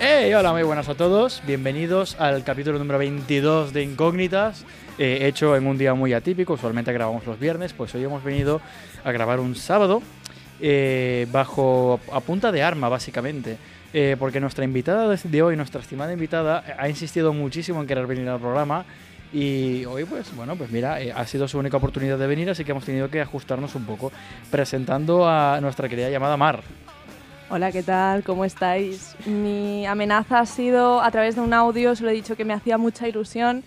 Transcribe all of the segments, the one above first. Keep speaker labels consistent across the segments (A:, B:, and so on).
A: ¡Hey! Hola, muy buenas a todos. Bienvenidos al capítulo número 22 de Incógnitas, eh, hecho en un día muy atípico. Usualmente grabamos los viernes, pues hoy hemos venido a grabar un sábado eh, bajo a punta de arma, básicamente. Eh, porque nuestra invitada de- de hoy, nuestra estimada invitada, eh, ha insistido muchísimo en querer venir al programa. Y hoy, pues bueno, pues mira, eh, ha sido su única oportunidad de venir, así que hemos tenido que ajustarnos un poco, presentando a nuestra querida llamada Mar.
B: Hola, ¿qué tal? ¿Cómo estáis? Mi amenaza ha sido a través de un audio, os lo he dicho que me hacía mucha ilusión,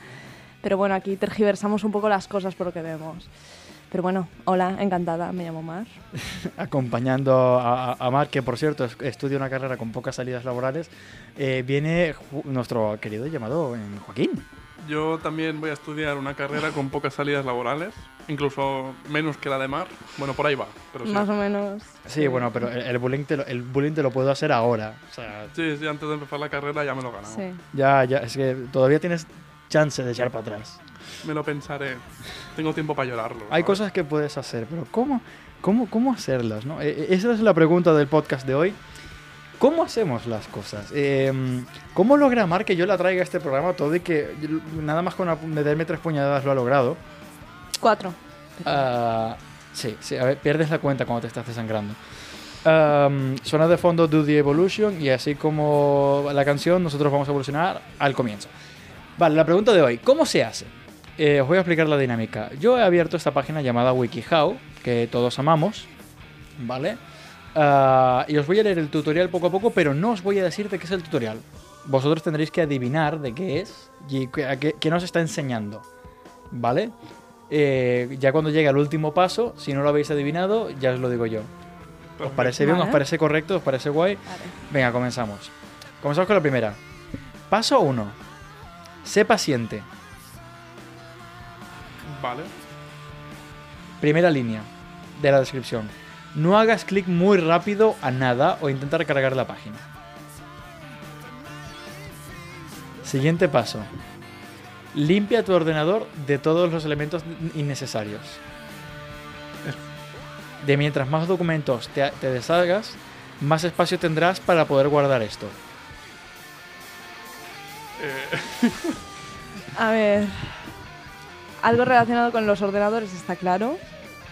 B: pero bueno, aquí tergiversamos un poco las cosas por lo que vemos. Pero bueno, hola, encantada, me llamo Mar.
A: acompañando a, a- a Mar, que por cierto es- estudia una carrera con pocas salidas laborales, eh, viene Ju- nuestro querido llamado eh, Joaquín.
C: Yo también voy a estudiar una carrera con pocas salidas laborales, incluso menos que la de mar. Bueno, por ahí va, pero sí.
B: Más o menos.
A: Sí, bueno, pero el, el bullying te lo, el bullying te lo puedo hacer ahora. O sea,
C: Sí, sí, antes de empezar la carrera ya me lo he ganado.
B: Sí.
A: ya, ya, es que todavía tienes chance de echar para atrás.
C: Me lo pensaré. Tengo tiempo para llorarlo.
A: Hay
C: ¿sabes?
A: cosas que puedes hacer, pero ¿cómo, cómo, cómo hacerlas? ¿no? Eh, eh, Esa es la pregunta del podcast de hoy. ¿Cómo hacemos las cosas? Eh, ¿Cómo logra Mar que yo la traiga a este programa todo y que yo- nada más con ap- meterme tres puñaladas lo ha logrado?
B: Cuatro.
A: Ah, sí, sí, a ver, pierdes la cuenta cuando te estás desangrando. Am, suena de fondo Do the Evolution y así como la canción, nosotros vamos a evolucionar al comienzo. Vale, la pregunta de hoy, ¿cómo se hace? Eh, os voy a explicar la dinámica. Yo he abierto esta página llamada WikiHow, que todos amamos, ¿vale? Ah, y os voy a leer el tutorial poco a poco, pero no os voy a decir de qué es el tutorial. Vosotros tendréis que adivinar de qué es y qué- a qué, qué nos está enseñando, ¿vale? Eh, ya cuando llegue al último paso, si no lo habéis adivinado, ya os lo digo yo. ¿Os
C: Perfecto.
A: parece bien? ¿Os
B: Vale.
A: parece correcto? ¿Os parece guay? Venga, comenzamos. Comenzamos con la primera. Paso 1. Sé paciente.
C: Vale.
A: Primera línea de la descripción. No hagas clic muy rápido a nada o intenta recargar la página. Siguiente paso. Limpia tu ordenador de todos los elementos innecesarios. De mientras más documentos te, te deshagas, más espacio tendrás para poder guardar esto.
C: Eh,
B: A ver. Algo relacionado con los ordenadores está claro.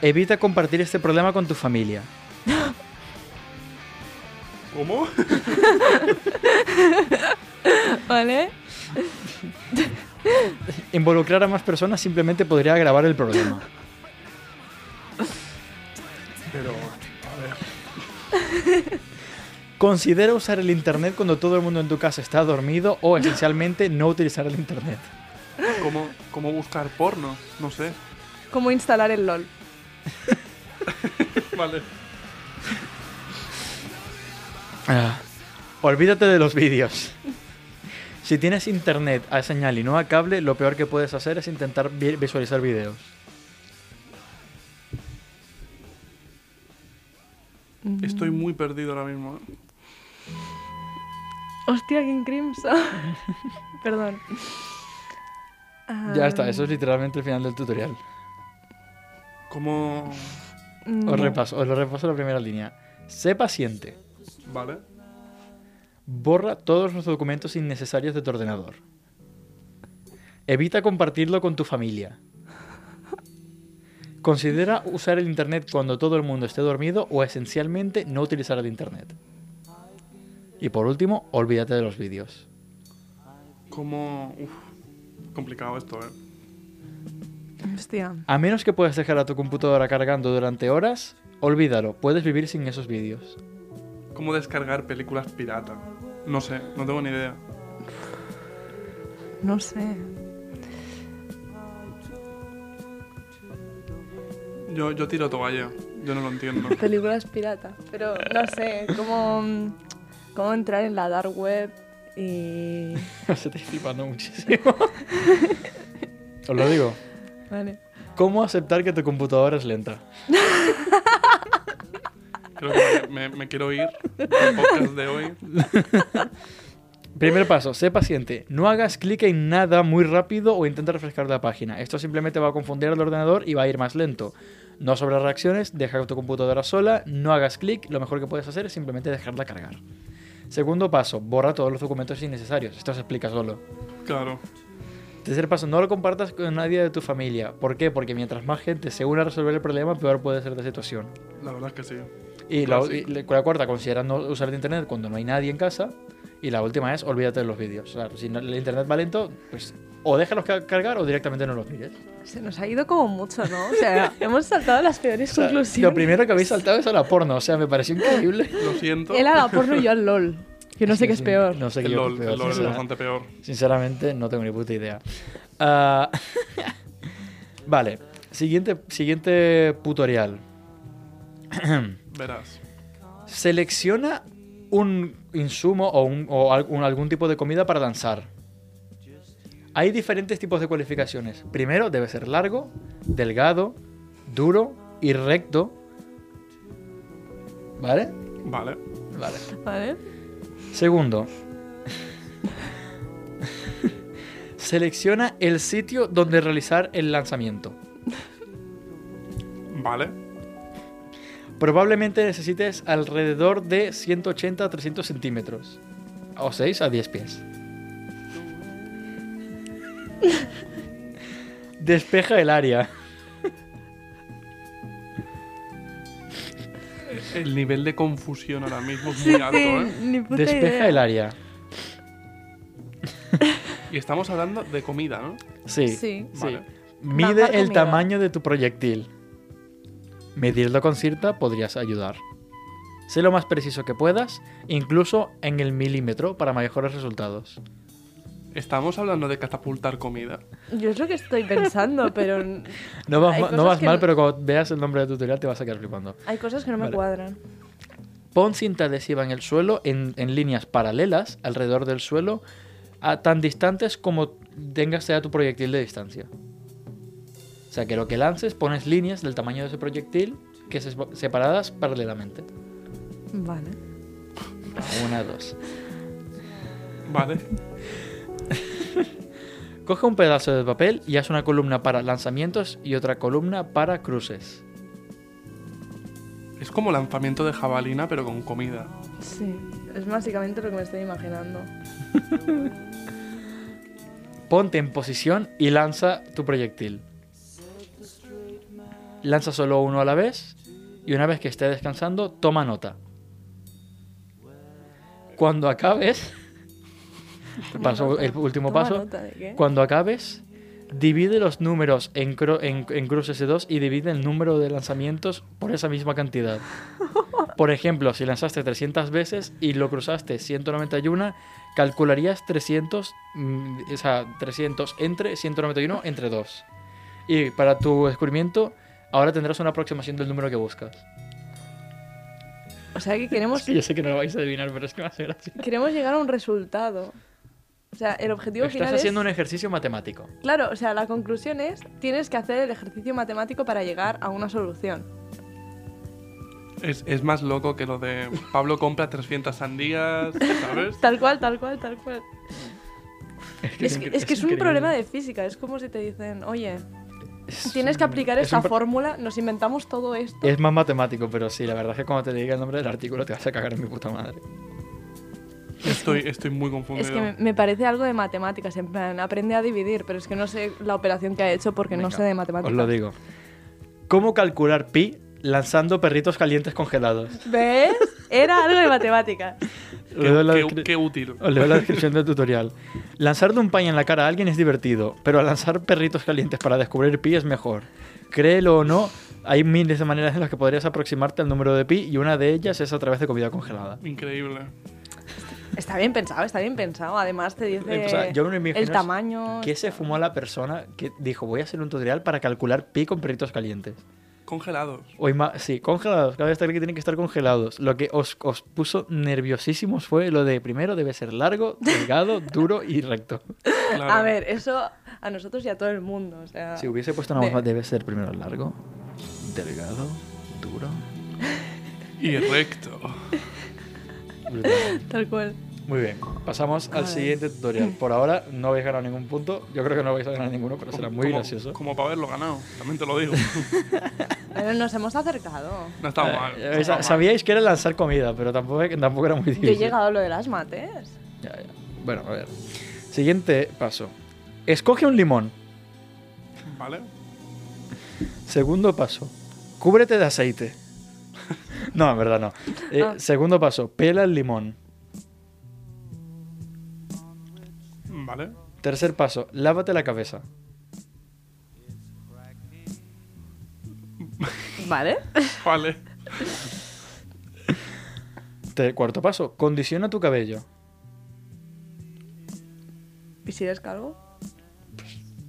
A: Evita compartir este problema con tu familia.
C: ¿Cómo?
B: ¿Vale?
A: Involucrar a más personas simplemente podría agravar el problema.
C: Pero
A: Considera usar el internet cuando todo el mundo en tu casa está dormido o esencialmente no utilizar el internet.
C: ¿cómo, ¿cómo buscar porno? No sé.
B: ¿Cómo instalar el LOL?
C: Vale.
A: Ah, Olvídate de los vídeos. Si tienes internet a señal y no a cable, lo peor que puedes hacer es intentar vi- visualizar vídeos.
C: Estoy muy perdido ahora mismo. ¿eh?
B: Hostia, King Crimson. Perdón.
A: Ya está, eso es literalmente el final del tutorial.
C: ¿Cómo?
B: Mm,
A: Os repaso, os lo repaso la primera línea. Sé paciente.
C: Vale.
A: Borra todos los documentos innecesarios de tu ordenador. Evita compartirlo con tu familia. Considera usar el Internet cuando todo el mundo esté dormido o esencialmente no utilizar el Internet. Y por último, olvídate de los vídeos.
C: ¿Cómo? Uf, complicado esto, ¿eh?
B: Hostia.
A: A menos que puedas dejar a tu computadora cargando durante horas, olvídalo, puedes vivir sin esos vídeos.
C: ¿Cómo descargar películas pirata? No sé, no tengo ni idea.
B: No sé.
C: Yo, yo tiro toalla. Yo no lo entiendo.
B: Películas pirata. Pero no sé, cómo, cómo entrar en la dark web Y.
A: Se te flipa, ¿no? Muchísimo. Os lo digo.
B: Vale.
A: ¿Cómo aceptar que tu computadora es lenta?
C: Creo que me, me- me quiero ir del podcast de hoy.
A: Primer paso, sé paciente. No hagas clic en nada muy rápido o intenta refrescar la página. Esto simplemente va a confundir al ordenador y va a ir más lento. No sobre reacciones, deja tu computadora sola, no hagas clic, lo mejor que puedes hacer es simplemente dejarla cargar. Segundo paso, borra todos los documentos innecesarios. Esto se explica solo.
C: Claro.
A: Tercer paso, no lo compartas con nadie de tu familia. ¿Por qué? Porque mientras más gente se une a resolver el problema, peor puede ser la situación.
C: La verdad es que sí.
A: Y la,
C: Clásico.
A: y la- la cuarta, considera no usar el internet cuando no hay nadie en casa. Y la última es, olvídate de los vídeos. O sea, si no- el internet va lento, pues o déjalos ca- cargar o directamente no los mires.
B: Se nos ha ido como mucho, ¿no? O sea, hemos saltado las peores
A: O sea,
B: conclusiones.
A: lo primero que habéis saltado es a la porno. O sea, me pareció increíble.
C: Lo siento.
B: Él a la porno y yo al LOL. Que no sé qué es
A: Sí,
B: peor.
A: No sé qué
C: El
A: yo creo
C: LOL,
A: que
C: el LOL es
A: sincera-
C: bastante peor.
A: Sinceramente, no tengo ni puta idea. Ah, vale, siguiente, siguiente tutorial.
C: Verás.
A: Selecciona un insumo o, un- o al- un- algún tipo de comida para danzar. Hay diferentes tipos de cualificaciones. Primero, debe ser largo, delgado, duro y recto. ¿Vale?
C: Vale.
A: Vale.
B: ¿Vale?
A: Segundo, selecciona el sitio donde realizar el lanzamiento.
C: Vale.
A: Probablemente necesites alrededor de 180 a 300 centímetros. O 6 a 10 pies. Despeja el área.
C: El nivel de confusión ahora mismo es
B: Sí,
C: muy alto,
B: sí,
C: ¿eh?
B: ni puta
A: Despeja
B: idea.
A: el área.
C: Y estamos hablando de comida, ¿no?
A: Sí.
B: Sí.
C: Vale.
A: Mide
B: Bajar
A: el
B: comida.
A: tamaño de tu proyectil. Medirlo con cierta podrías ayudar. Sé lo más preciso que puedas, incluso en el milímetro, para mejores resultados.
C: Estamos hablando de catapultar comida.
B: Yo es lo que estoy pensando, pero n-
A: No vas,
B: Hay
A: ma- no
B: cosas
A: vas
B: que
A: mal,
B: no-
A: pero cuando veas el nombre del tutorial te vas a quedar flipando.
B: hay cosas que no
A: Vale.
B: me cuadran.
A: Pon cinta adhesiva en el suelo en, en líneas paralelas alrededor del suelo, a tan distantes como tengas sea tu proyectil de distancia. O sea, que lo que lances pones líneas del tamaño de ese proyectil que se separadas paralelamente.
B: Vale.
A: Una, dos.
C: Vale.
A: Coge un pedazo de papel y haz una columna para lanzamientos y otra columna para cruces.
C: Es como lanzamiento de jabalina, pero con comida.
B: Sí. Es básicamente lo que me estoy imaginando.
A: Ponte en posición y lanza tu proyectil. Lanza solo uno a la vez y una vez que esté descansando, toma nota. Cuando acabes, paso- el último
B: Toma
A: paso,
B: nota de qué.
A: cuando acabes, divide los números en, cro- en, en cruces de 2 y divide el número de lanzamientos por esa misma cantidad. Por ejemplo, si lanzaste 300 veces y lo cruzaste 191, calcularías 300, mm, o sea, 300 entre 191 entre 2. Y para tu descubrimiento, ahora tendrás una aproximación del número que buscas.
B: O sea que queremos,
A: Es que yo sé que no lo vais a adivinar, pero es que me hace gracia.
B: queremos llegar a un resultado. O sea, el objetivo
A: Estás
B: final
A: haciendo
B: es...
A: un ejercicio matemático.
B: Claro, o sea, la conclusión es tienes que hacer el ejercicio matemático para llegar a una solución.
C: Es, es más loco que lo de Pablo compra 300 sandías, ¿sabes?
B: Tal cual, tal cual, tal cual. Es que
A: incre-
B: es, que es un
A: increíble.
B: problema de física, es como si te dicen, oye,
A: Es
B: tienes que
A: un-
B: aplicar
A: es
B: esta
A: un pro-
B: fórmula, nos inventamos todo esto.
A: Es más matemático, pero sí, la verdad es que cuando te diga el nombre del artículo te vas a cagar en mi puta madre.
C: Estoy, estoy muy confundido.
B: Es que me, me parece algo de matemáticas, en plan, aprende a dividir, pero es que no sé la operación que ha hecho porque no
A: Venga,
B: sé de matemáticas.
A: Os lo digo. ¿Cómo calcular pi lanzando perritos calientes congelados?
B: ¿Ves? Era algo de matemáticas.
A: Os
C: Qué,
A: leo la,
C: qué-
A: descri-
C: qué útil.
A: os leo la descripción del tutorial. Lanzarle un paño en la cara a alguien es divertido, pero lanzar perritos calientes para descubrir pi es mejor. Créelo o no, hay miles de maneras en las que podrías aproximarte al número de pi y una de ellas es a través de comida congelada.
C: Increíble.
B: Está bien pensado, está bien pensado. Además te dice
A: Eh, pues, O sea, yo me lo imagino
B: el tamaño.
A: ¿Qué se fumó la persona que dijo voy a hacer un tutorial para calcular pi con perritos calientes?
C: Congelados.
A: O ima- sí, congelados. Cada vez que tienen que estar congelados. Lo que os, os puso nerviosísimos fue lo de primero debe ser largo, delgado, duro y recto.
C: Claro.
B: A ver, eso a nosotros y a todo el mundo. O sea,
A: Si hubiese puesto una
B: Ve.
A: voz más, debe ser primero largo, delgado, duro.
C: Y recto.
A: brutal.
B: tal cual.
A: Muy bien, pasamos al
B: Ay.
A: siguiente tutorial. Por ahora no habéis ganado ningún punto. Yo creo que no vais a ganar ninguno, pero será muy
C: Como-
A: gracioso.
C: Como para haberlo ganado, también te lo digo.
B: Pero nos hemos acercado.
C: No está
A: Eh,
C: mal. no
A: eh,
C: está
A: sa-
C: mal.
A: sabíais que era lanzar comida, pero tampoco, tampoco era muy
B: Yo he
A: difícil.
B: llegado a lo de las mates.
A: Ya, ya. Bueno, a ver. Siguiente paso. Escoge un limón.
C: ¿Vale?
A: Segundo paso, cúbrete de aceite. No, en verdad no. Eh,
B: Ah.
A: Segundo paso, pela el limón.
C: ¿Vale?
A: Tercer paso, lávate la cabeza.
B: ¿Vale?
C: Vale.
A: Te- cuarto paso, condiciona tu cabello.
B: ¿Y si eres calvo?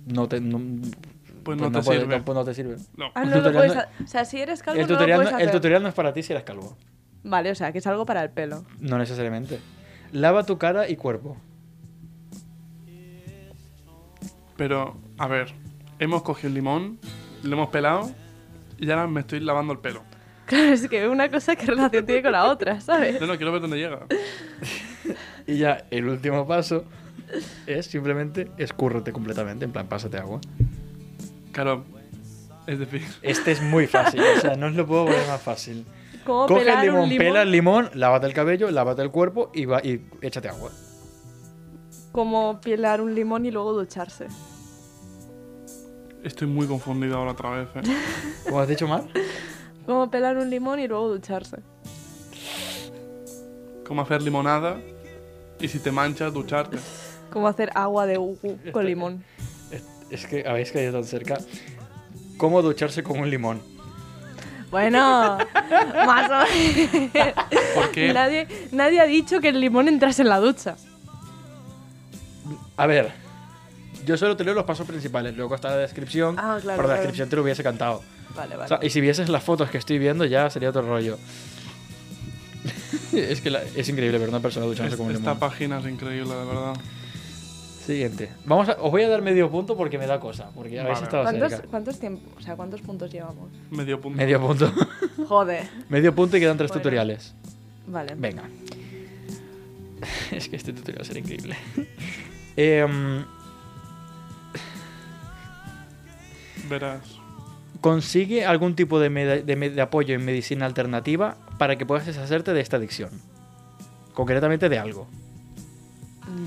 A: No te, no,
C: Pues no te
A: puede-
C: sirve.
A: no, pues no te sirve.
C: No.
B: Ah,
A: El
B: no lo
A: tutorial
B: puedes
A: no-
B: ha- O sea, si eres calvo,
A: El
B: no
A: tutorial,
B: lo
A: no,
B: puedes
A: el
B: hacer.
A: tutorial no es para ti si eres calvo.
B: Vale, o sea, que es algo para el pelo.
A: No necesariamente. Lava tu cara y cuerpo.
C: Pero, a ver, hemos cogido el limón, lo hemos pelado y ahora me estoy lavando el pelo.
B: Claro, es que una cosa que relación tiene con la otra, ¿sabes?
C: No, no, quiero ver dónde llega.
A: Y ya, el último paso es simplemente escúrrete completamente. En plan, pásate agua.
C: Claro, es decir,
A: Este es muy fácil. o sea, no os lo puedo poner más fácil.
B: Como
A: Coge
B: pelar
A: el limón,
B: un limón.
A: pela el limón, lávate el cabello, lávate el cuerpo y, va, y échate agua.
B: Como pelar un limón y luego ducharse.
C: estoy muy confundido ahora otra vez. ¿eh?
A: ¿Cómo has dicho mal?
B: Como pelar un limón y luego ducharse.
C: Cómo hacer limonada y si te manchas, ducharte.
B: Como hacer agua de ugu
A: Esto-
B: con limón.
A: Es, es que habéis caído tan cerca. ¿Cómo ducharse con un limón?
B: Bueno, más o menos.
C: ¿Por qué?
B: Nadie, nadie ha dicho que el limón entrase en la ducha.
A: A ver, yo solo te leo los pasos principales. Luego está la descripción.
B: Ah, claro,
A: pero la
B: claro.
A: descripción te lo hubiese cantado.
B: Vale,
A: O sea, y si vieses las fotos que estoy viendo, ya sería otro rollo. es que la- es increíble ver una persona duchándose
C: Es-
A: con un
C: esta
A: limón.
C: página es increíble, de verdad.
A: Siguiente. Vamos a- os voy a dar medio punto porque me da cosa. Porque habéis
C: Vale.
A: estado
B: ¿Cuántos,
A: cerca.
B: cuántos tiemp- o sea, ¿Cuántos puntos llevamos?
C: Medio punto.
A: Medio punto.
B: Joder.
A: medio punto y quedan tres
B: Bueno.
A: tutoriales.
B: Vale.
A: Venga. Es que este tutorial va a ser increíble. Em,
C: Verás.
A: consigue algún tipo de, meda- de me- de apoyo en medicina alternativa para que puedas deshacerte de esta adicción. Concretamente de algo.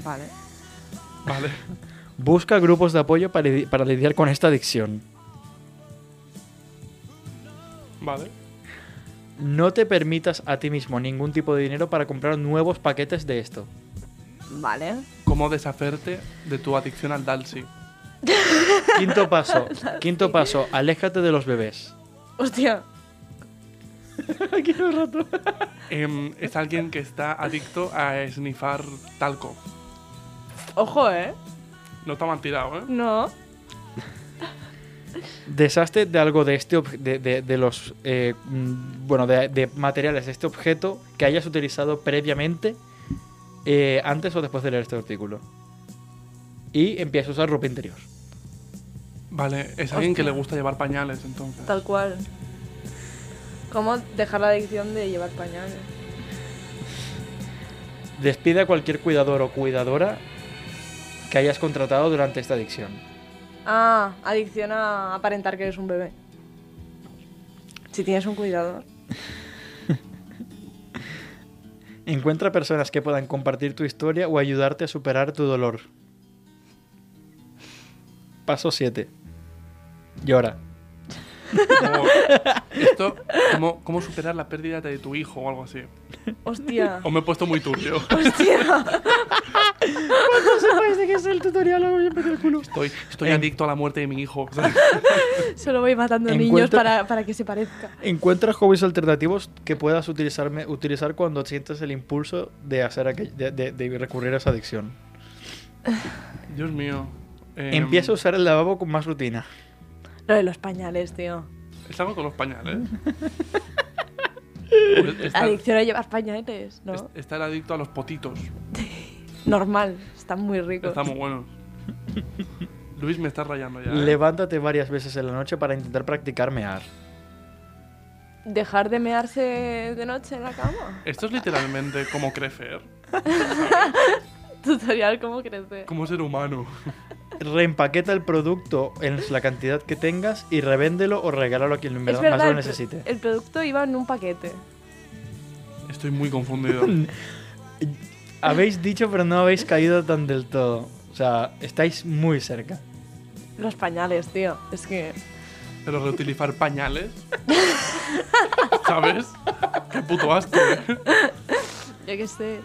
B: Vale.
C: Vale.
A: Busca grupos de apoyo para, li- para lidiar con esta adicción.
C: Vale.
A: No te permitas a ti mismo ningún tipo de dinero para comprar nuevos paquetes de esto.
B: Vale.
C: ¿Cómo deshacerte de tu adicción al Dalsy?
A: Quinto paso. Quinto paso. Aléjate de los bebés.
B: Hostia.
A: Quiero un rato.
C: Em, es alguien que está adicto a snifar talco.
B: Ojo, ¿eh?
C: No está mal tirado, ¿eh?
B: No.
A: deshazte de algo de este ob- de, de- de los eh, mm, bueno de, de materiales de este objeto que hayas utilizado previamente eh, antes o después de leer este artículo y empieza a usar ropa interior
C: Vale, es alguien que le gusta llevar pañales, entonces.
B: Tal cual. ¿Cómo dejar la adicción de llevar pañales?
A: despide a cualquier cuidador o cuidadora que hayas contratado durante esta adicción
B: Ah, adicción a aparentar que eres un bebé. Si tienes un cuidador.
A: encuentra personas que puedan compartir tu historia o ayudarte a superar tu dolor paso 7 llora
C: Como- esto, como, como superar la pérdida de tu hijo o algo así.
B: Hostia.
C: O me he puesto muy turbio.
A: parece que es el tutorial
C: Estoy, estoy
A: En-
C: adicto a la muerte de mi hijo. ¿sabes?
B: Solo voy matando
A: Encuentra-
B: niños para, para que se parezca.
A: Encuentra hobbies alternativos que puedas utilizarme, utilizar cuando sientes el impulso de hacer aquel- de, de- de recurrir a esa adicción.
C: Dios mío. Em,
A: Empieza a usar el lavabo con más rutina.
B: Lo de los pañales, tío.
C: Es algo con los pañales. Pues está,
B: Adicción a llevar pañales, ¿no?
C: es- está el adicto a los potitos.
B: Normal, están muy ricos.
C: Está muy bueno. Luis me está rayando ya. ¿eh?
A: Levántate varias veces en la noche para intentar practicar mear.
B: Dejar de mearse de noche en la cama.
C: Esto es literalmente como crecer,
B: Tutorial cómo crecer.
C: como ser humano.
A: Reempaqueta el producto en la cantidad que tengas y revéndelo o regálalo a quien en
B: es
A: verdad,
B: verdad,
A: más lo
B: el, pro-
A: necesite.
B: el producto iba en un paquete.
C: Estoy muy confundido.
A: Habéis dicho, pero no habéis caído tan del todo. O sea, estáis muy cerca.
B: Los pañales, tío. Es que
C: Pero reutilizar pañales. ¿Sabes? Qué puto asco. ¿eh?
B: Ya que sé.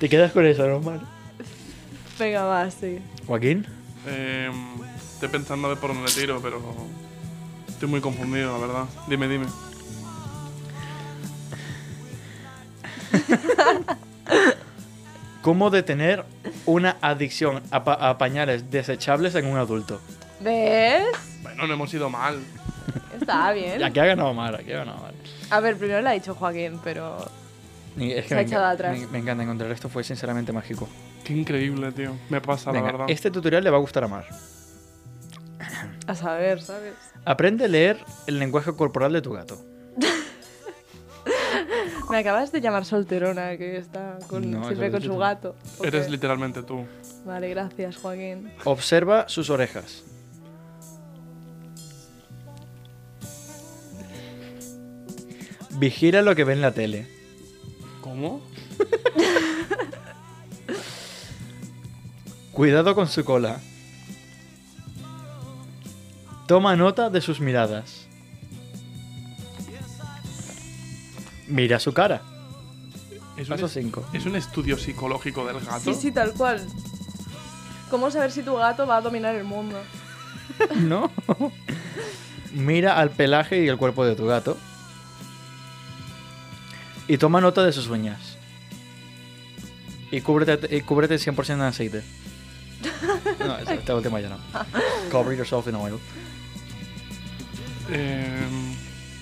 A: Te quedas con eso, normal.
B: Venga, va, sí.
A: Joaquín,
C: Em, estoy pensando a ver por dónde le tiro, pero. Estoy muy confundido, la verdad. Dime, dime.
A: ¿cómo detener una adicción a, pa- a pañales desechables en un adulto?
B: ¿Ves?
C: Bueno, no hemos ido mal.
B: Estaba bien.
A: Aquí ha ganado Mar, aquí ha ganado Mar.
B: A ver, primero la ha dicho Joaquín, pero.
A: Y es que
B: Se ha
A: me,
B: echado
A: enca-
B: atrás.
A: me- me encanta encontrar esto, fue sinceramente mágico.
C: Qué increíble, tío. Me pasa,
A: Venga,
C: la verdad.
A: este tutorial le va a gustar a Mar.
B: A saber, ¿sabes?
A: Aprende a leer el lenguaje corporal de tu gato.
B: Me acabas de llamar solterona, que está con,
A: No,
B: siempre
A: eso
B: con
A: es
B: su
A: tú.
B: gato. Ok.
C: Eres literalmente tú.
B: Vale, gracias, Joaquín.
A: Observa sus orejas. Vigila lo que ve en la tele.
C: ¿Cómo?
A: Cuidado con su cola. Toma nota de sus miradas. Mira su cara.
C: Es un,
A: Paso
C: es,
A: 5.
C: es un estudio psicológico del gato.
B: Sí, sí, tal cual. ¿Cómo saber si tu gato va a dominar el mundo?
A: No. Mira al pelaje y el cuerpo de tu gato. Y toma nota de sus uñas. Y cúbrete, y cúbrete 100% de aceite. No, esta, esta última ya no. Cover yourself in oil.
C: Em,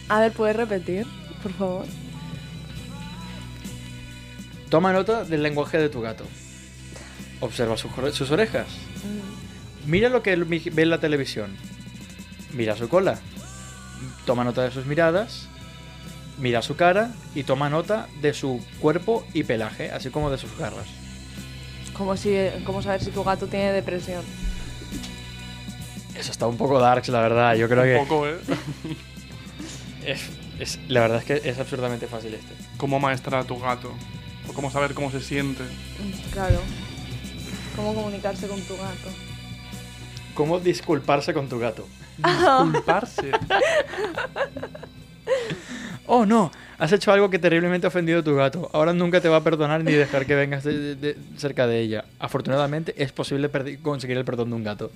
B: A ver, ¿puedes repetir, por favor?
A: Toma nota del lenguaje de tu gato. Observa sus, ore- sus orejas.
B: Mm,
A: Mira lo que él vi- ve en la televisión. Mira su cola. Toma nota de sus miradas. Mira su cara y toma nota de su cuerpo y pelaje, así como de sus garras.
B: Como si, ¿Cómo saber si tu gato tiene depresión?
A: Eso está un poco darks, la verdad. Yo creo
C: un
A: que
C: poco, ¿eh?
A: es, es- la verdad es que es absurdamente fácil este.
C: ¿Cómo maestrar a tu gato? O cómo saber cómo se siente.
B: Mm, Claro. ¿Cómo comunicarse con tu gato?
A: ¿Cómo disculparse con tu gato?
C: Disculparse.
A: Oh no, has hecho algo que terriblemente ha ofendido a tu gato. Ahora nunca te va a perdonar ni dejar que vengas de- de- de- cerca de ella. Afortunadamente es posible perdi- conseguir el perdón de un gato.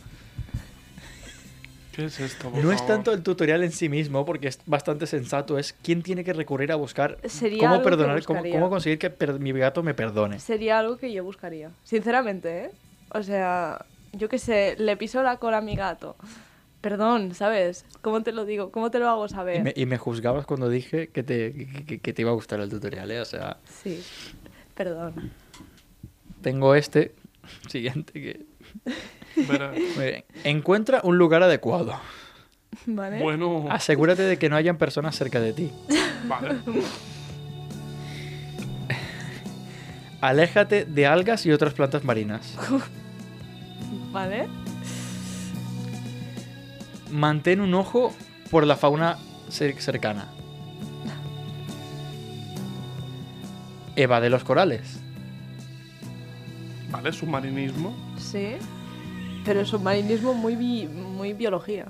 C: ¿Qué es esto? por
A: No es
C: favor?
A: tanto el tutorial en sí mismo, porque es bastante sensato, es quién tiene que recurrir a buscar
B: Sería
A: cómo
B: algo que
A: perdonar, cómo,
B: buscaría.
A: cómo conseguir que per- mi gato me perdone.
B: Sería algo que yo buscaría. Sinceramente, ¿eh? O sea, yo qué sé, le piso la cola a mi gato. Perdón, ¿sabes? ¿Cómo te lo digo? ¿Cómo te lo hago
A: Y
B: saber?
A: me, y me juzgabas cuando dije que te, que- que- que te iba a gustar el tutorial, ¿eh? O sea,
B: Sí. Perdón.
A: tengo este. Siguiente que...
C: Verás.
A: Muy bien. Encuentra un lugar adecuado.
B: ¿Vale? Ah.
C: Bueno,
A: Asegúrate de que no hayan personas cerca de ti.
C: vale.
A: Aléjate de algas y otras plantas marinas.
B: ¿Vale?
A: Mantén un ojo por la fauna cer- cercana. Evade los corales.
C: Vale, submarinismo.
B: Sí. Pero el submarinismo muy, bi- muy biología.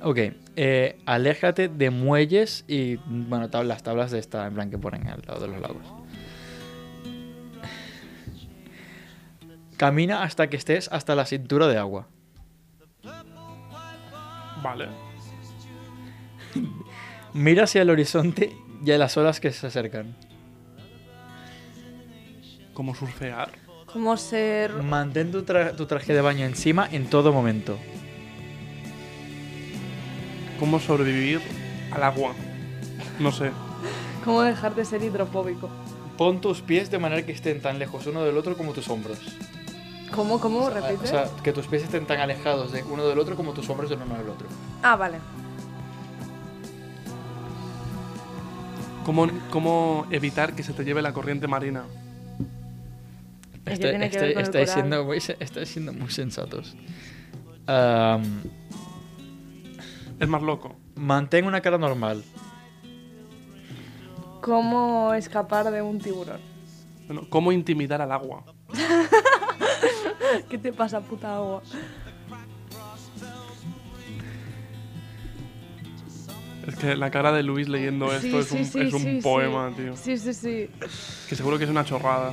A: Ok, eh, aléjate de muelles y, bueno, tab- las tablas de esta, en plan, que ponen al lado de los lagos. Camina hasta que estés hasta la cintura de agua.
C: Vale.
A: Mira hacia el horizonte y a las olas que se acercan.
C: Como surfear.
B: Como ser...
A: Mm. Mantén tu, tra- tu traje de baño encima en todo momento.
C: cómo sobrevivir al agua. No sé.
B: ¿Cómo dejar de ser hidrofóbico?
A: Pon tus pies de manera que estén tan lejos uno del otro como tus hombros.
B: ¿Cómo, cómo?
A: O sea,
B: ¿Repite?
A: O sea, que tus pies estén tan alejados de uno del otro como tus hombros del uno del otro.
B: ah, vale.
C: ¿Cómo, cómo evitar que se te lleve la corriente marina?
B: ¿Y qué tiene que ver con el
A: estáis
B: coral?
A: siendo muy, se- estáis siendo muy sensatos. Am,
C: Es más loco.
A: mantén una cara normal.
B: ¿Cómo escapar de un tiburón?
C: Bueno, ¿Cómo intimidar al agua?
B: ¿Qué te pasa, puta agua?
C: Es que la cara de Luis leyendo esto
B: Sí,
C: es
B: sí,
C: un,
B: sí,
C: es un
B: sí, sí.
C: poema, tío.
B: Sí, sí, sí.
C: Que seguro que es una chorrada.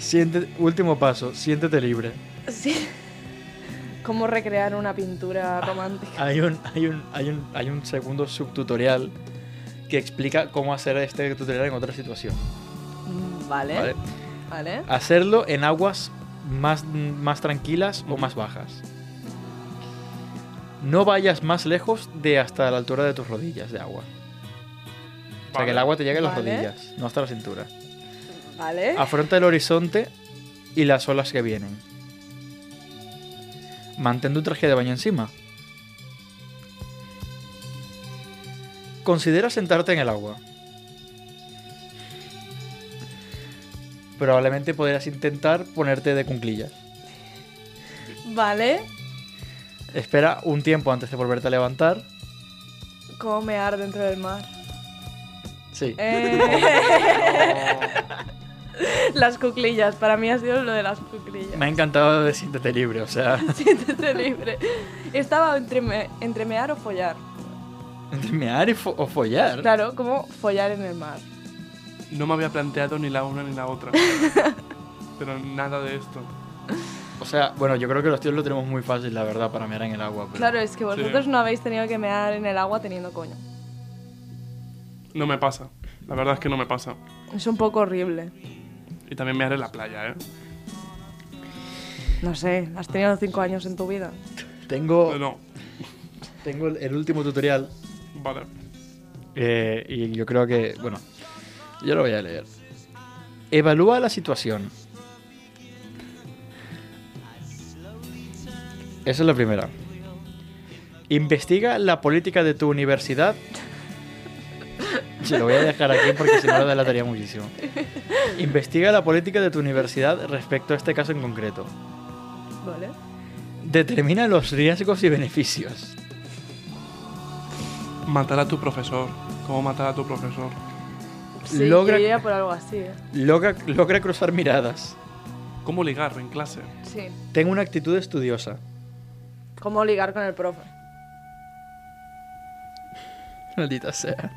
A: Siente- último paso, siéntete libre.
B: Sí. ¿Cómo recrear una pintura romántica?
A: Hay un, hay un, hay un, hay un segundo subtutorial que explica cómo hacer este tutorial en otra situación.
B: Mm, Vale,
A: ¿vale?
B: vale. ¿eh?
A: Hacerlo en aguas más, más tranquilas o más bajas. No vayas más lejos de hasta la altura de tus rodillas de agua. O sea, que el agua te llegue a las
B: Vale.
A: rodillas, no hasta la cintura.
B: Vale.
C: Ah.
A: Afronta el horizonte y las olas que vienen. Mantén tu traje de baño encima. Considera sentarte en el agua. Probablemente podrías intentar ponerte de cunclillas.
B: Vale.
A: Espera un tiempo antes de volverte a levantar.
B: ¿Cómo mear dentro del mar?
A: Sí.
B: Eh. las cuclillas. Para mí ha sido lo de las cuclillas.
A: Me ha encantado de siéntete libre, o sea,
B: Siéntete libre. Estaba entre, me- entre mear o follar.
A: entre mear y fo- o follar.
B: Claro, como follar en el mar.
C: No me había planteado ni la una ni la otra. Pero nada de esto.
A: O sea, bueno, yo creo que los tíos lo tenemos muy fácil, la verdad, para mear en el agua. pero-
B: Claro, es que vosotros
C: Sí.
B: no habéis tenido que mear en el agua teniendo coño.
C: No me pasa. La verdad es que no me pasa.
B: Es un poco horrible.
C: Y también me haré la playa, ¿eh?
B: No sé, has tenido cinco años en tu vida.
A: Tengo,
C: No,
A: tengo el- el último tutorial
C: vale.
A: eh, y yo creo que, bueno, yo lo voy a leer. Evalúa la situación. Esa es la primera. Investiga la política de tu universidad. Se lo voy a dejar aquí porque si no lo delataría muchísimo. Investiga la política de tu universidad respecto a este caso en concreto.
B: Vale.
A: Determina los riesgos y beneficios.
C: Matar a tu profesor. ¿Cómo matar a tu profesor?
B: Sí,
A: Logra-
B: yo iría por algo así, ¿eh?
A: Logra, logra cruzar miradas.
C: ¿Cómo ligar en clase?
B: Sí.
A: Tengo una actitud estudiosa.
B: ¿Cómo ligar con el profe?
A: Maldita sea.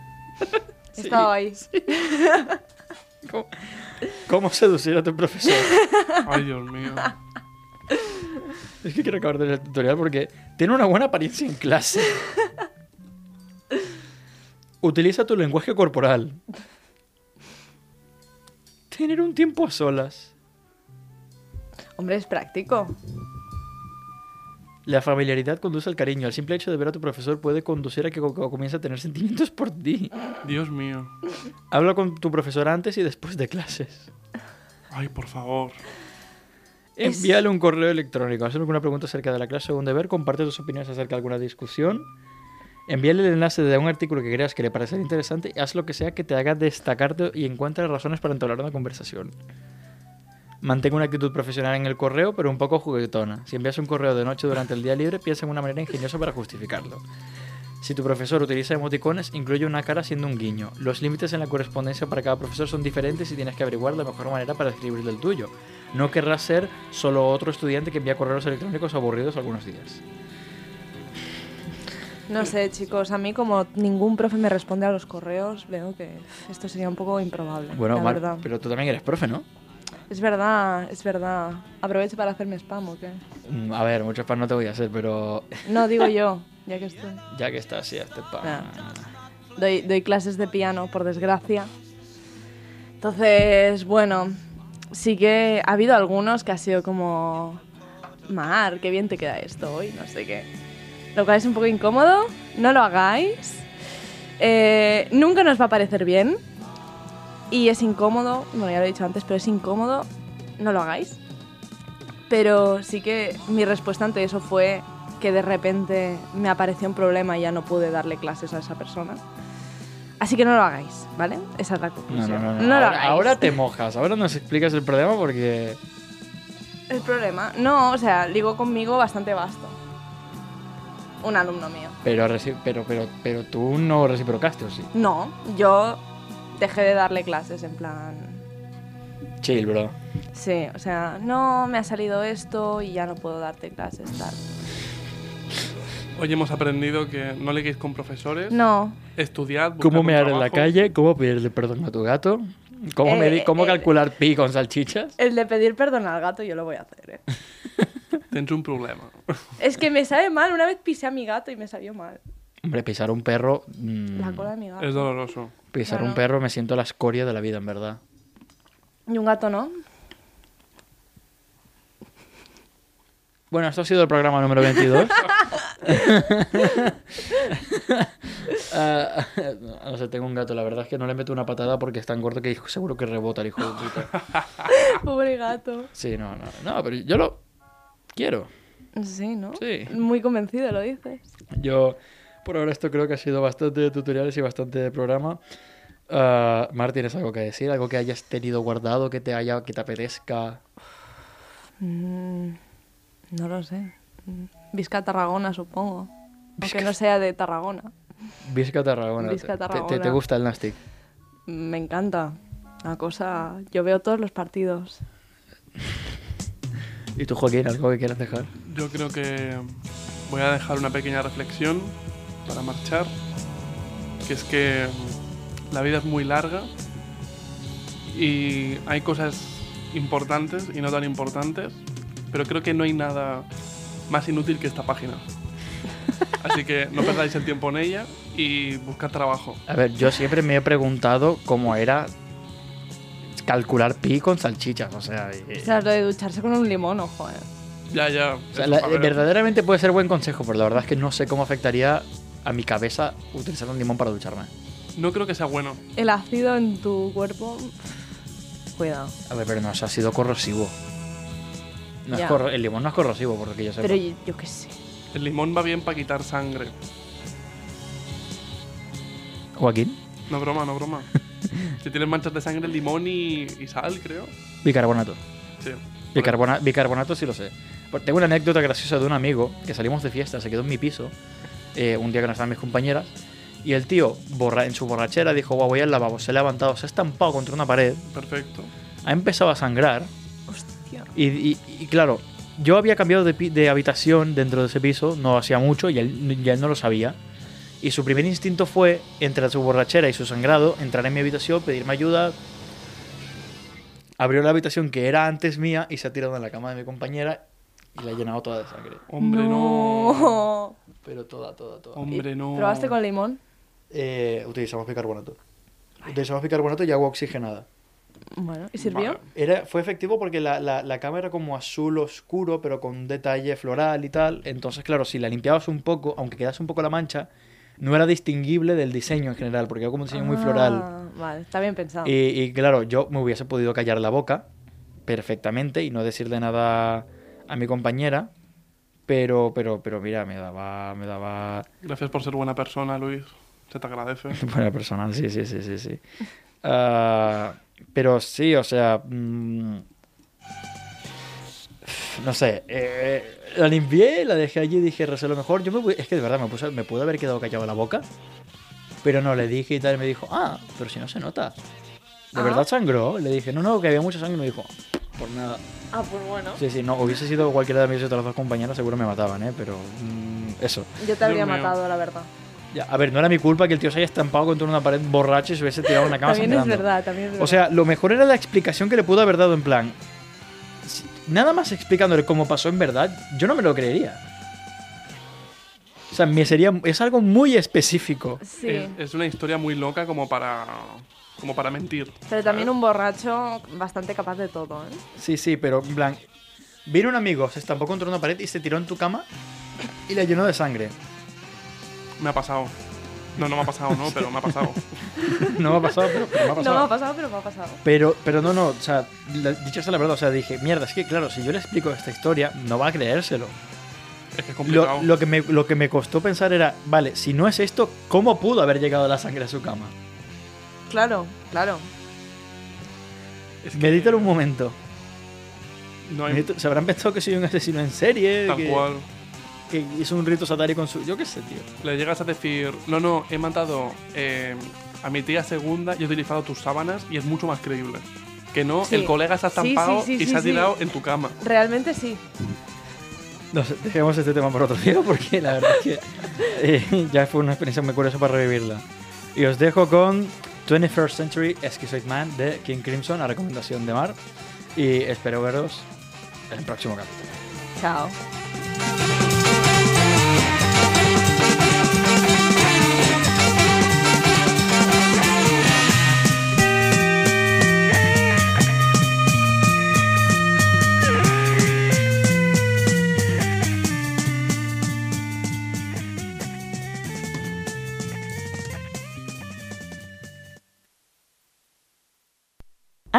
B: He estado ahí.
A: ¿Cómo, cómo seducir a tu profesor?
C: Ay, Dios mío.
A: Es que quiero acabar de leer el tutorial porque tiene una buena apariencia en clase. Utiliza tu lenguaje corporal. Tener un tiempo a solas.
B: Hombre, es práctico.
A: La familiaridad conduce al cariño. El simple hecho de ver a tu profesor puede conducir a que co- co- comience a tener sentimientos por ti.
C: Dios mío.
A: Habla con tu profesor antes y después de clases.
C: Ay, por favor.
B: Es-
A: Envíale un correo electrónico, hazle alguna pregunta acerca de la clase o un deber, comparte tus opiniones acerca de alguna discusión, envíale el enlace de un artículo que creas que le parecerá interesante y haz lo que sea que te haga destacarte y encuentre razones para entablar una conversación. Mantenga una actitud profesional en el correo, pero un poco juguetona. Si envías un correo de noche durante el día libre, piensa en una manera ingeniosa para justificarlo. Si tu profesor utiliza emoticones, incluye una cara siendo un guiño. Los límites en la correspondencia para cada profesor son diferentes y tienes que averiguar la mejor manera para escribir el tuyo. No querrás ser solo otro estudiante que envía correos electrónicos aburridos algunos días.
B: No sé, chicos, a mí como ningún profe me responde a los correos, veo que esto sería un poco improbable.
A: Bueno,
B: la
A: Mar,
B: verdad.
A: pero tú también eres profe, ¿no?
B: Es verdad, es verdad. Aprovecho para hacerme spam, ¿o qué?
A: Mm, A ver, muchos pan no te voy a hacer, pero
B: No, digo yo, ya que estoy.
A: ya que estás, sí, este pan.
B: Ah. Doy, doy clases de piano, por desgracia. Entonces, bueno, sí que ha habido algunos que ha sido como... Mar, qué bien te queda esto hoy, no sé qué. lo cual es un poco incómodo. No lo hagáis. Eh, nunca nos va a parecer bien. Y es incómodo, bueno, ya lo he dicho antes, pero es incómodo. No lo hagáis. Pero sí que mi respuesta ante eso fue que de repente me apareció un problema y ya no pude darle clases a esa persona. Así que no lo hagáis, ¿vale? Esa es la
A: No,
B: conclusión.
A: no, no. no.
B: lo
A: ahora,
B: hagáis.
A: ahora te mojas, ahora nos explicas el problema porque.
B: El problema, no, o sea, digo conmigo bastante vasto. Un alumno mío.
A: Pero, reci- pero, pero, pero tú no reciprocaste, ¿o sí?
B: No, yo dejé de darle clases en plan...
A: Chill, bro.
B: Sí, o sea, no, me ha salido esto y ya no puedo darte clases, tal.
C: Hoy hemos aprendido que no liguéis con profesores,
B: No,
C: estudiad, buscad
A: ¿Cómo
C: un
A: mear en la
C: trabajo.
A: calle? ¿Cómo pedirle perdón a tu gato? ¿Cómo,
B: Eh,
A: medir- cómo
B: eh,
A: calcular pi con salchichas?
B: el de pedir perdón al gato yo lo voy a hacer, ¿eh?
C: Tens un problema.
B: Es que me sabe mal, una vez pisé a mi gato y me salió mal.
A: Hombre, pisar un perro. mm,
B: La cola de mi
C: es
B: gato.
C: doloroso.
A: pisar
B: Claro.
A: un perro me siento la escoria de la vida, en verdad.
B: Y un gato no.
A: Bueno, esto ha sido el programa número 22. Ah, no sé, tengo un gato. La verdad es que no le meto una patada porque es tan gordo que seguro que rebota el hijo de puta. Ah.
B: Pobre gato.
A: Sí, no, no. No, pero yo lo quiero.
B: Sí, ¿no?
A: Sí.
B: Muy convencido lo dices.
A: Yo, por ahora, esto creo que ha sido bastante de tutoriales y bastante de programa. Ah, Mar, ¿tienes algo que decir? ¿Algo que hayas tenido guardado que te haya, que te apetezca?
B: Mm, no lo sé. Vizca Tarragona, supongo. Aunque no sea de Tarragona.
A: Visca Tarragona.
B: Visca
A: Te- te- Te,
B: Tarragona.
A: gusta el Nastic?
B: Me encanta. La cosa. Yo veo todos los partidos.
A: ¿Y tú, Joaquín, algo que quieras dejar?
C: Yo creo que voy a dejar una pequeña reflexión para marchar, que es que la vida es muy larga y hay cosas importantes y no tan importantes, pero creo que no hay nada más inútil que esta página. Así que no perdáis el tiempo en ella y buscad trabajo.
A: A ver, yo siempre me he preguntado cómo era calcular pi con salchichas. O sea, eh,
B: O sea, lo de ducharse con un limón, ojo, eh.
C: Ya, ya.
A: o sea,
C: es
A: la- eh,
C: un papeleo.
A: verdaderamente puede ser buen consejo, pero la verdad es que no sé cómo afectaría a mi cabeza utilizar un limón para ducharme.
C: No creo que sea bueno.
B: El ácido en tu cuerpo. Cuidado.
A: A ver, pero no, eso ha sido corrosivo. No es
B: Ya.
A: corro- el limón no es corrosivo, por lo que yo sé.
B: Pero yo, yo qué sé.
C: El limón va bien para quitar sangre.
A: Joaquín,
C: No broma, no broma. si tienes manchas de sangre, limón y, y sal, creo.
A: bicarbonato.
C: Sí.
A: Bicarbona- bicarbonato sí lo sé. Pero Tengo una anécdota graciosa de un amigo que salimos de fiesta, se quedó en mi piso eh, un día que no estaban mis compañeras. Y el tío, borra, en su borrachera, dijo: "Guau, Voy al lavabo. Se ha levantado, se ha estampado contra una pared,
C: Perfecto.
A: ha empezado a sangrar.
B: Hostia.
A: Y, y- y claro, yo había cambiado de, pi- de habitación dentro de ese piso, no hacía mucho y él, y él no lo sabía. Y su primer instinto fue, entre su borrachera y su sangrado, entrar en mi habitación, pedirme ayuda. Abrió la habitación que era antes mía y se ha tirado en la cama de mi compañera y la ha llenado toda de sangre.
C: Hombre, no.
B: No.
A: Pero toda, toda, toda.
C: Hombre, no.
B: ¿Probaste con limón?
A: Eh, utilizamos bicarbonato. Utilizamos bicarbonato y agua oxigenada.
B: Bueno, ¿y sirvió?
C: Vale.
A: Era, fue efectivo porque la, la, la cama era como azul oscuro, pero con un detalle floral y tal. Entonces, claro, si la limpiabas un poco, aunque quedase un poco la mancha, no era distinguible del diseño en general, porque era como un diseño muy floral. Eh,
B: Ah, Vale, está bien pensado.
A: Y, y, claro, yo me hubiese podido callar la boca perfectamente y no decirle nada a mi compañera. Pero, pero, pero mira, me daba, me daba
C: Gracias por ser buena persona, Luis. Se te agradece.
A: Buena persona, sí, sí, sí, sí, sí. Ah, pero sí, o sea... mm, no sé, eh, la limpié, la dejé allí, dije, recé lo mejor. Yo me, pu- es que de verdad me, puse, me pude haber quedado callado la boca, pero no, le dije y tal, y me dijo, ah, pero si no se nota. ¿De
B: Ah.
A: verdad sangró? Le dije, no, no, que había mucha sangre, y me dijo, por nada.
B: Ah, pues bueno.
A: Sí, sí, no, hubiese sido cualquiera de mis otras dos compañeras, seguro me mataban, ¿eh? Pero mm, eso.
B: Yo te habría
C: Dios mío.
B: matado, la verdad.
A: Ya, a ver, no era mi culpa que el tío se haya estampado contra una pared borracho y se hubiese tirado en la cama
B: También es
A: sangrando.
B: verdad, también es verdad.
A: O sea, lo mejor era la explicación que le pudo haber dado en plan. si- Nada más explicándole cómo pasó en verdad, yo no me lo creería. O sea, me sería, es algo muy específico.
B: sí.
C: Es, es una historia muy loca como para, como para mentir.
B: Pero también un borracho bastante capaz de todo, ¿eh?
A: Sí, sí, pero en plan. Vino un amigo, se estampó contra una pared y se tiró en tu cama. y la llenó de sangre.
C: Me ha pasado. No, no me ha pasado, no, pero me ha pasado.
A: No me ha pasado, pero, pero me ha
B: No
A: pasado.
B: me ha pasado, pero me ha pasado.
A: Pero, pero no, no, o sea, la, dicho sea la verdad, o sea, dije, mierda, es que claro, si yo le explico esta historia, no va a creérselo.
C: Es que
A: Lo,
C: es complicado.
A: lo que me, lo que me costó pensar era, vale, si no es esto, ¿cómo pudo haber llegado la sangre a su cama?
B: Claro, claro.
C: Es que
A: Medítalo un momento.
C: No hay
A: Medítalo- ¿Se habrán pensado que soy un asesino en serie?
C: tal
A: que,
C: cual.
A: que hizo un rito satánico en su... Yo qué sé, tío.
C: Le llegas a decir, no, no, he matado eh, a mi tía segunda y he utilizado tus sábanas y es mucho más creíble. Que no,
B: Sí.
C: el colega se ha
B: Sí, sí,
C: estampado
B: sí,
C: y
B: sí,
C: se ha
B: sí.
C: tirado en tu cama.
B: Realmente sí.
A: No sé, dejemos este tema por otro día porque la verdad es que eh, ya fue una experiencia muy curiosa para revivirla. Y os dejo con 21st Century Esquizoid Man de King Crimson a recomendación de Mar. Y espero veros en el próximo capítulo.
B: Chao.